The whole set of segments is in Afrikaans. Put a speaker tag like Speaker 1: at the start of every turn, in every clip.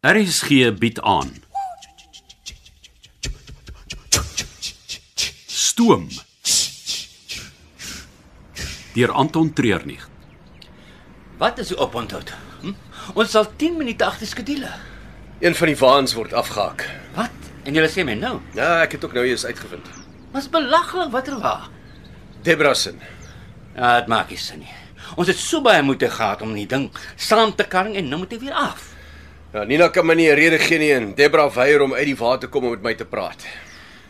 Speaker 1: RSG bied aan. Stoom deur Anton Treurnig.
Speaker 2: Wat is die oponthoud? Hm? Ons sal 10 minute agter skedule.
Speaker 3: Een van die waans word afgehaak.
Speaker 2: Wat? En julle sê my nou.
Speaker 3: Ja, ek het ook nou eers uitgevind.
Speaker 2: Mas belaglik watter wa.
Speaker 3: Debrasin.
Speaker 2: Ja, Ah, dit maak nie sin nie. Ons het so baie moeite gehad om die ding saam te karring en nou moet dit weer af.
Speaker 3: Ja, Nina kan my nie 'n rede gee nie en Debra weier om uit die water te kom om met my te praat.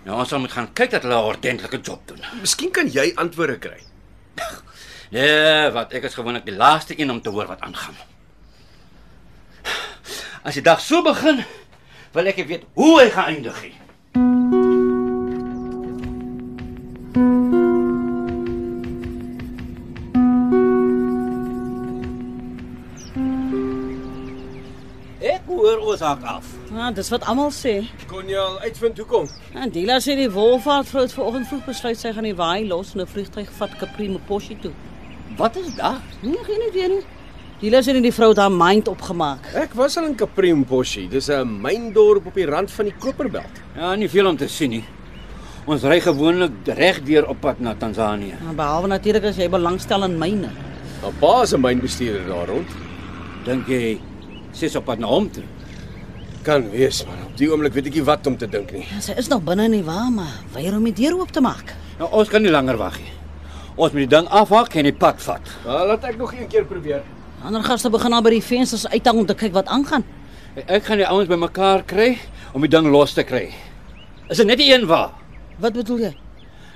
Speaker 2: Nou ons sal moet gaan kyk dat hulle 'n ordentlike job doen.
Speaker 3: Miskien kan jy antwoorde kry.
Speaker 2: Nee, wat ek is gewoonlik die laaste een om te hoor wat aangaan. As die dag so begin, wil ek nie weet hoe hy gaan eindig nie.
Speaker 4: Ek hoor ons hak af.
Speaker 5: Ja, dis wat almal sê.
Speaker 3: Kon jy al uitvind hoekom?
Speaker 5: En Dila sê die wolvaartvrou het vanoggend vroeg besluit sy gaan die waai los en 'n vliegtyg vat Capri Mposhi toe.
Speaker 2: Wat is daar?
Speaker 5: Nee, geen idee nie. Dila sê net die vrou het haar mind opgemaak.
Speaker 3: Ek was al in Kapriemboshi. Dis 'n myndorp op die rand van die Koperbelt.
Speaker 2: Ja, nie veel om te sien nie. Ons ry gewoonlik regdeur op pad na Tansanië.
Speaker 5: Nou, Behalwe natuurlik as jy belangstel in myne.
Speaker 3: 'n Pa is 'n mynbestuurder daar rond.
Speaker 2: Dink jy sies op pad na hom toe?
Speaker 3: Kan wees, man. Op die oomblik weet ek nie wat om te dink nie.
Speaker 5: Ja, sy is nog binne in die wa, maar weier om die deur oop te maak.
Speaker 2: Nou ons kan nie langer wag nie. Ons moet die ding afhak en die pad vat.
Speaker 3: Ja, laat ek nog een keer probeer.
Speaker 5: Ander gaste begin al by die vensters uithang om te kyk wat aangaan.
Speaker 2: Ek gaan die ouens bymekaar kry om die ding los te kry. Is dit net die een waar?
Speaker 5: Wat bedoel jy?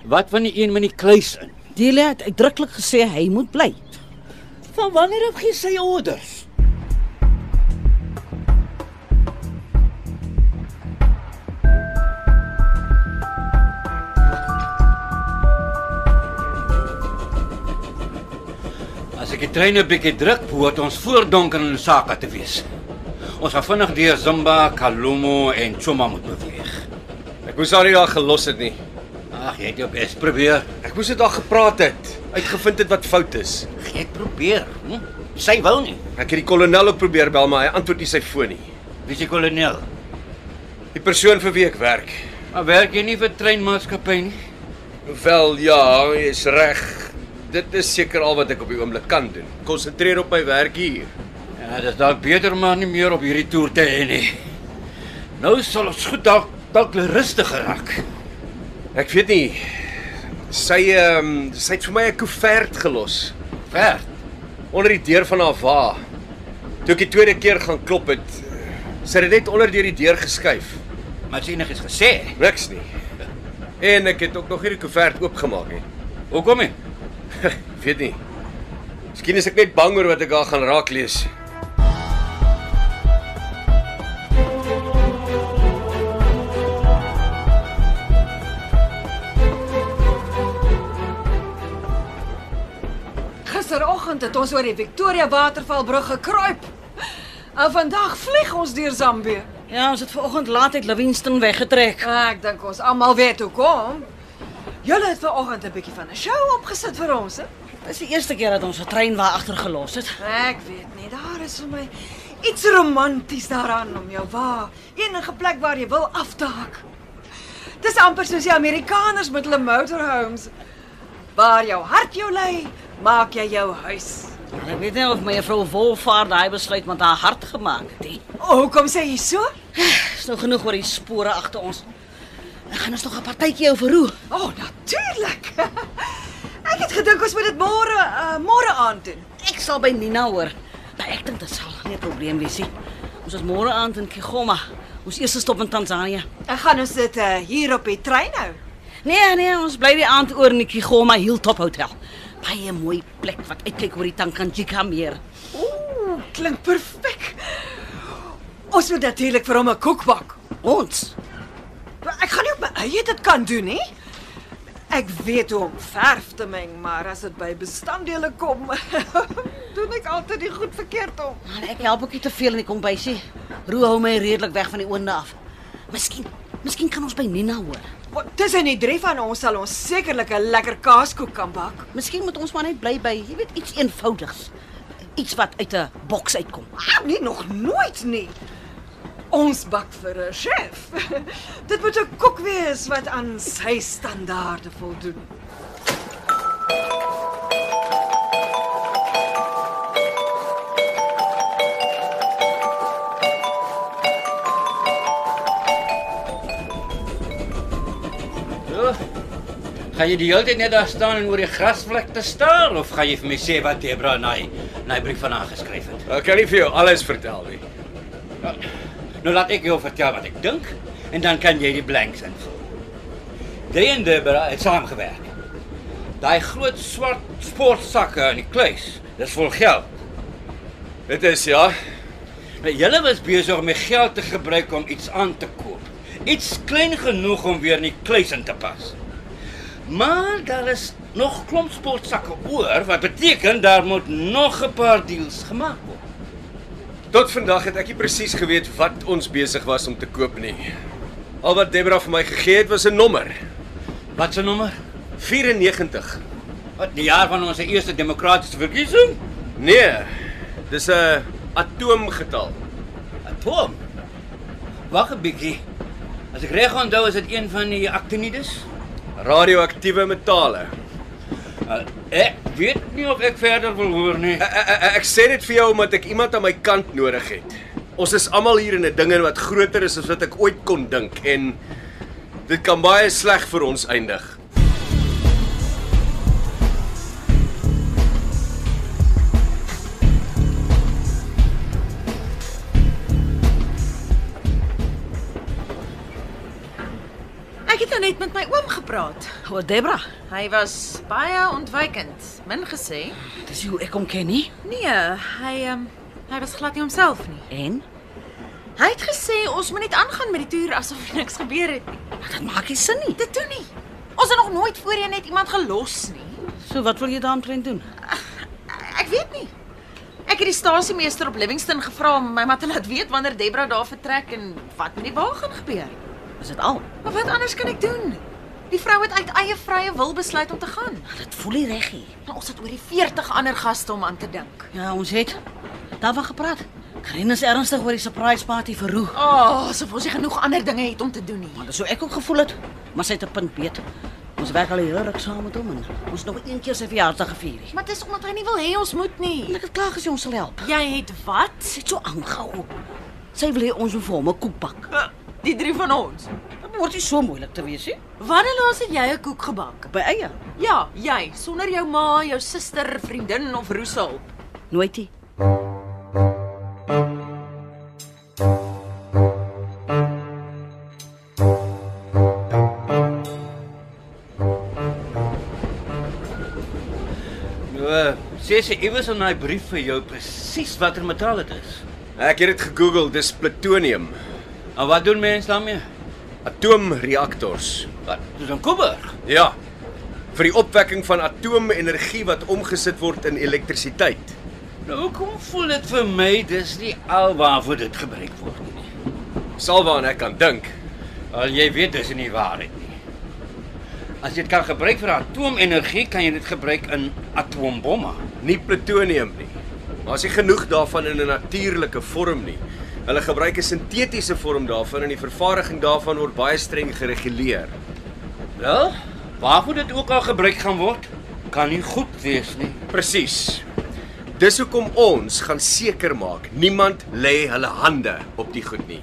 Speaker 2: Wat van die een met die kluis in?
Speaker 5: Dila het uitdruklik gesê hy moet bly.
Speaker 2: Van wanneer af gee sy orders? As ek die trein 'n bietjie druk, behoort ons voor donker in Lusaka te wees. Ons gaan vinnig deur Zimba, Kalumo en Choma moet beweeg.
Speaker 3: Ek moes haar nie daar gelos het nie.
Speaker 2: Ag, jy het jou bes probeer.
Speaker 3: Ek moes dit daar gepraat het, uitgevind het wat fout is.
Speaker 2: Ag, Jy het probeer, hm? Sy wou nie.
Speaker 3: Ek het die kolonel ook probeer bel, maar hy antwoord nie sy foon nie.
Speaker 2: Wie se kolonel?
Speaker 3: Die persoon vir wie ek werk.
Speaker 2: Maar werk jy nie vir treinmaatskappy nie?
Speaker 3: Wel ja, jy is reg. Dit is seker al wat ek op die oomblik kan doen. Konsentreer op my werk hier.
Speaker 2: Ja, dis dalk beter om maar nie meer op hierdie toer te hê nie. Nou sal ons goed dalk dalk rustiger raak.
Speaker 3: Ek weet nie. Sy ehm um, sy het vir my 'n koevert gelos
Speaker 2: Ver.
Speaker 3: onder die deur van haar wa. Toe ek die tweede keer gaan klop het, sy het dit net onder deur die deur geskuif.
Speaker 2: Maar as enigiets gesê.
Speaker 3: Niks nie. En ek het ook nog hierdie koevert oopgemaak nie.
Speaker 2: Hoekom nie?
Speaker 3: Ek weet nie. Miskien is ek net bang oor wat ek daar gaan raak lees.
Speaker 6: Gisteroggend het ons oor die Victoria Watervalbrug gekruip. En vandag vlieg ons deur Zambië.
Speaker 5: Ja, ons het vanoggend laat uit Livingston weggetrek.
Speaker 6: Ek dink ons almal weet hoe kom. Julle het vanoggend 'n bietjie van 'n show opgesit vir ons, hè?
Speaker 5: Dis die eerste keer dat ons 'n trein waar agter gelos het.
Speaker 6: Ek weet nie, daar is vir my iets romanties daaraan om jou wa enige plek waar jy wil af te hak. Dis amper soos die Amerikaners met hulle motorhomes. Waar jou hart jou lei, maak jy jou huis.
Speaker 5: En Ek weet nie of mevrou Wolvaart daai besluit met haar hart gemaak het nie.
Speaker 6: O, hoekom sê jy so?
Speaker 5: Dis nou genoeg oor die spore agter ons. Ek gaan ons nog 'n partytjie oorroe.
Speaker 6: O, oh, natuurlik. ek het gedink ons moet dit môre uh, môre aand doen.
Speaker 5: Ek sal by Nina hoor. Maar ek dink dit sal nie 'n probleem wees nie. Ons is môre aand in Kigoma. Ons eerste stop in Tansanië.
Speaker 6: Ek gaan ons dit uh, hier op die trein hou.
Speaker 5: Nee, nee, ons bly die aand oor in die Kigoma Hilltop Hotel. Baie mooi plek wat uitkyk oor die Tanganjika meer.
Speaker 6: Ooh, klink perfek. Ons moet natuurlik vir hom 'n koek bak.
Speaker 5: Ons.
Speaker 6: Maar Ek gaan nie op my eie dit kan doen nie. Ek weet hoe om verf te meng, maar as dit by bestanddele kom, doen ek altyd die goed verkeerd om.
Speaker 5: Maar ek help ook nie te veel in die kombuisie. Roo hou my redelik weg van die oonde af. Miskien, miskien kan ons by Nina hoor.
Speaker 6: Want Tussen die drie van ons sal ons sekerlik 'n lekker kaaskoek kan bak.
Speaker 5: Miskien moet ons maar net bly by, jy weet, iets eenvoudigs. Iets wat uit 'n boks uitkom.
Speaker 6: Ah, Nee, nog nooit nie. Ons bak vir 'n chef. Dit moet 'n kok wees wat aan sy standaarde voldoen.
Speaker 2: Ja. Gaan jy die hele tyd net daar staan en oor die grasvlek te staar of gaan jy vir my sê wat Debra in hy in hy brief vanaand geskryf het?
Speaker 3: Ek kan nie vir jou alles vertel nie.
Speaker 2: Nou laat ek jou vertel wat ek dink en dan kan jy die blanks invul. Jy en Debra het saamgewerk. Daai groot swart sportsakke in die kluis, dis vol geld.
Speaker 3: Dit is ja,
Speaker 2: Nou julle was besig om die geld te gebruik om iets aan te koop. Iets klein genoeg om weer in die kluis in te pas. Maar daar is nog klomp sportsakke oor wat beteken daar moet nog 'n paar deals gemaak word.
Speaker 3: tot vandag het ek nie presies geweet wat ons besig was om te koop nie. Al wat Debra vir my gegee het was 'n nommer,
Speaker 2: Wat se nommer?
Speaker 3: 94.
Speaker 2: Wat die jaar van ons eerste demokratiese verkiesing?
Speaker 3: Nee, dis 'n atoomgetal.
Speaker 2: Atom. Wag 'n bietjie. As ek reg onthou is dit een van die actinides.
Speaker 3: Radioaktiewe metale.
Speaker 2: Uh, ek weet nie of ek verder wil nee. hoor nie.
Speaker 3: Ek, ek, eh, ek- ek sê dit vir jou omdat ek iemand aan my kant nodig het. Ons is almal hier in 'n ding en wat groter is as wat ek ooit kon dink en dit kan baie sleg vir ons eindig.
Speaker 7: Ek het nou net met my oom gepraat.
Speaker 5: Oor Debra,
Speaker 7: Hy was baie ontwykend, min gesê.
Speaker 5: dis hoe ek hom ken nie.
Speaker 7: Nee, hy ehm um, hy was glad nie homself nie.
Speaker 5: En
Speaker 7: Hy het gesê ons moet net aangaan met die toer asof niks gebeur het nie.
Speaker 5: dit maak nie sin nie.
Speaker 7: Dit toe nie. Ons het nog nooit voorheen net iemand gelos nie.
Speaker 5: So wat wil jy daaraan doen?
Speaker 7: Ek weet nie. Ek het die stasiemeester op Livingston gevra om my maar te laat weet wanneer Debra daar vertrek en wat met die wa gaan gebeur.
Speaker 5: Is dit al?
Speaker 7: Maar wat anders kan ek doen? Die vrou het uit eie vrye wil besluit om te gaan.
Speaker 5: Dit voel nie reg nie.
Speaker 7: Maar ons het oor die 40 ander gaste om aan te dink.
Speaker 5: Ja, ons het daarvan gepraat. Karin is ernstig oor die surprise party vir Roo.
Speaker 7: O, oh, asof ons nie genoeg ander dinge het om te doen nie.
Speaker 5: Maar dis hoe ek ook gevoel het, maar sy het 'n punt beet. Ons werk al heel ruk saam met hom en ons het nog een keer sy verjaarsdag gevier.
Speaker 7: Maar dis omdat hy nie wil hê ons moet
Speaker 5: En
Speaker 7: nie.
Speaker 5: ek het klaar gesê ons sal help.
Speaker 7: Jy het wat?
Speaker 5: Sy het so aangehou. Sy wil hê ons moet vir hom 'n koek bak.
Speaker 7: Eh, Die drie van ons.
Speaker 5: Dit word nie so moeilik te wees nie.
Speaker 7: Wanneer laas het jy 'n koek gebak?
Speaker 5: By eie.
Speaker 7: Ja, jy, sonder jou ma, jou suster, vriendin of roesel.
Speaker 5: Nooit nie.
Speaker 2: Nou, eh, sê sy iewers in daai brief vir jou presies watter metaal dit is.
Speaker 3: Ek het dit gegoogel, dis plutonium,
Speaker 2: En Nou, wat doen mense daarmee?
Speaker 3: atoomreaktors.
Speaker 2: Wat? Dis 'n Kuiberg.
Speaker 3: Ja. Vir die opwekking van atoomenergie wat omgesit word in elektrisiteit.
Speaker 2: Nou hoekom voel dit vir my dis nie alwaarvoor dit gebruik word nie.
Speaker 3: Sal waaraan ek kan dink.
Speaker 2: Al jy weet dis nie waarheid nie. As jy dit kan gebruik vir atoomenergie, kan jy dit gebruik in atoombomme.
Speaker 3: Nie plutonium nie. Maar as jy genoeg daarvan in 'n natuurlike vorm nie. Hulle gebruik 'n sintetiese vorm daarvan en die vervaardiging daarvan word baie streng gereguleer.
Speaker 2: Wel, waarvoor dit ook al gebruik gaan word, kan nie goed wees nie.
Speaker 3: Presies. Dis hoekom ons gaan seker maak niemand lê hulle hande op die goed nie.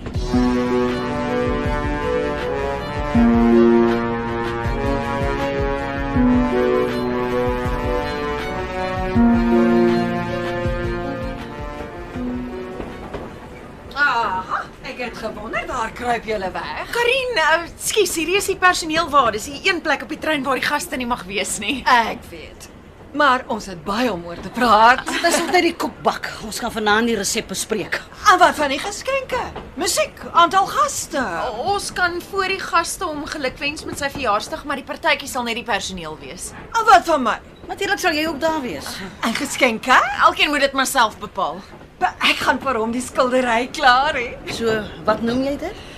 Speaker 6: Aha, ek het gewonder waar kruip julle weg.
Speaker 7: Karin, uh, skus, hierdie is die personeel waar. Dis die een plek op die trein waar die gaste nie mag wees nie.
Speaker 6: Ek weet. Maar ons het baie om oor te praat.
Speaker 5: Dis net die koekbak. Ons gaan vanaand die resep bespreek.
Speaker 6: En wat van die geskenke? Musiek, aantal gaste.
Speaker 7: Ons kan voor die gaste hom gelukwens met sy verjaarsdag, maar die partytjie sal net die personeel wees.
Speaker 6: En wat van my?
Speaker 5: Natuurlik sal jy ook daar wees.
Speaker 6: En geskenke?
Speaker 7: Elkeen moet dit maar self bepaal.
Speaker 6: Be- Ek gaan vir hom die skildery klaar hê.
Speaker 5: So, wat noem jy dit?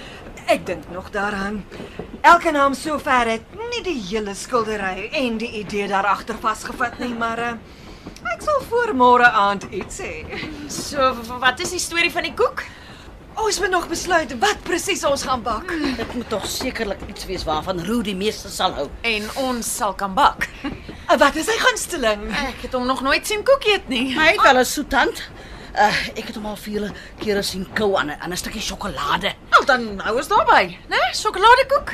Speaker 6: Ek dink nog daaraan. Elke naam sover het nie die hele skildery en die idee daar agter vasgevat nie, maar eh, ek sal voor môre aand iets sê.
Speaker 7: So, w- wat is die storie van die koek?
Speaker 6: Ons moet nog besluit wat presies ons gaan bak.
Speaker 7: Hmm,
Speaker 5: Dit moet tog sekerlik iets wees waarvan Roo die meeste sal hou.
Speaker 7: En ons sal kan bak.
Speaker 6: En wat is sy gunsteling?
Speaker 7: Ek het hom nog nooit sien koek eet nie.
Speaker 5: Maar hy het wel 'n soet hand. Uh, ek het hom al vele kere sien kou aan 'n aan 'n stukkie sjokolade.
Speaker 7: Al dan hou ons daarby, né? Sjokoladekoek.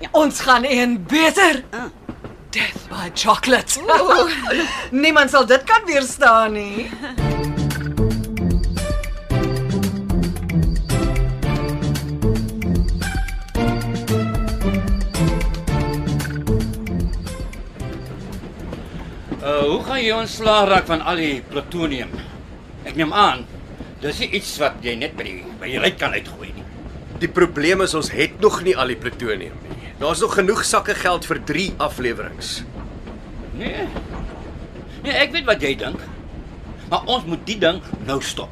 Speaker 6: Ja, Ons gaan een beter.
Speaker 7: Ah.
Speaker 6: Death by chocolate. Niemand sal dit kan weerstaan nie.
Speaker 2: Uh, hoe gaan jy ontslaa raak van al die plutonium? Ek neem aan dis nie iets wat jy net by die by die ryk kan uitgooi nie.
Speaker 3: Die probleem is ons het nog nie al die plutonium nie. Daar's nog genoeg sakke geld vir 3 afleweringe.
Speaker 2: Nee. Nee, ek weet wat jy dink. Maar ons moet die ding nou stop.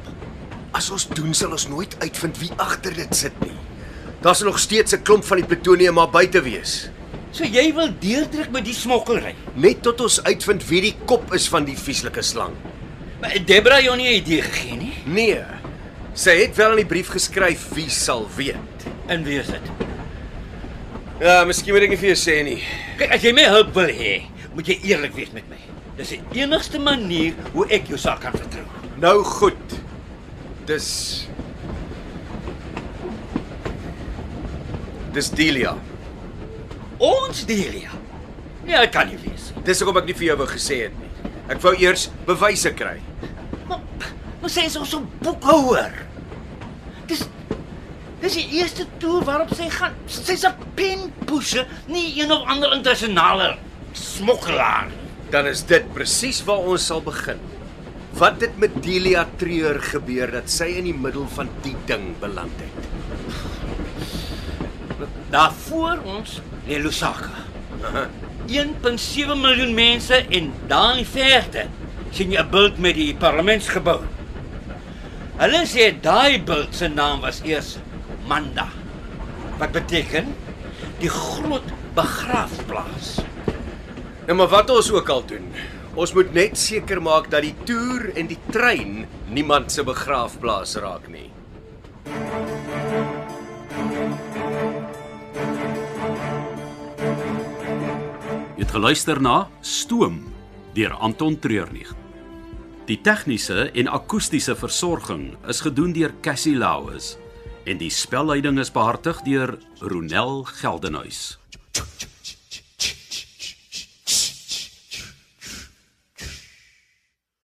Speaker 3: As ons doen sal ons nooit uitvind wie agter dit sit nie. Daar's nog steeds 'n klomp van die plutonium maar buite wees,
Speaker 2: So jy wil deurdruk met die smokkelry.
Speaker 3: net tot ons uitvind wie die kop is van die vieslike slang.
Speaker 2: Maar Debra het jou nie 'n idee gegee nie.
Speaker 3: Nee. Sy het wel in die brief geskryf wie sal weet.
Speaker 2: En wie is dit?
Speaker 3: Ja, miskien moet ek nie vir jou sê nie.
Speaker 2: Kyk, as jy my hulp wil hê, moet jy eerlik wees met my. Dis die enigste manier hoe ek jou sal kan vertrou.
Speaker 3: Nou goed. Dis Dis Delia.
Speaker 2: Ons Delia. Nee, dit kan nie wees nie.
Speaker 3: Dis hoekom ek nie vir jou wou gesê het nie. Ek wou eers bewyse kry.
Speaker 2: Maar, maar sy is ons 'n boekhouer. Dis Dis die eerste toer waarop sy gaan. Sy's 'n penpoesje, nie een of ander internasionale smokkelaar.
Speaker 3: Dan is dit presies waar ons sal begin. Wat dit met Delia Treur gebeur dat sy in die middel van die ding beland het.
Speaker 2: Daar voor ons lê Lusaka. 1.7 miljoen mense en daar in die verte sien jy 'n beeld met die parlementsgebou. Hulle sê daai beeld se naam was eers Manda. Wat beteken die groot begraafplaas.
Speaker 3: Nou maar wat ons ook al doen, ons moet net seker maak dat die toer en die trein niemand se begraafplaas raak nie.
Speaker 1: Jy het geluister na Stoom deur Anton Treurnig. Die tegniese en akoestiese versorging is gedoen deur Cassie Lauis en die spelleiding is behartig deur Ronel Geldenhuys.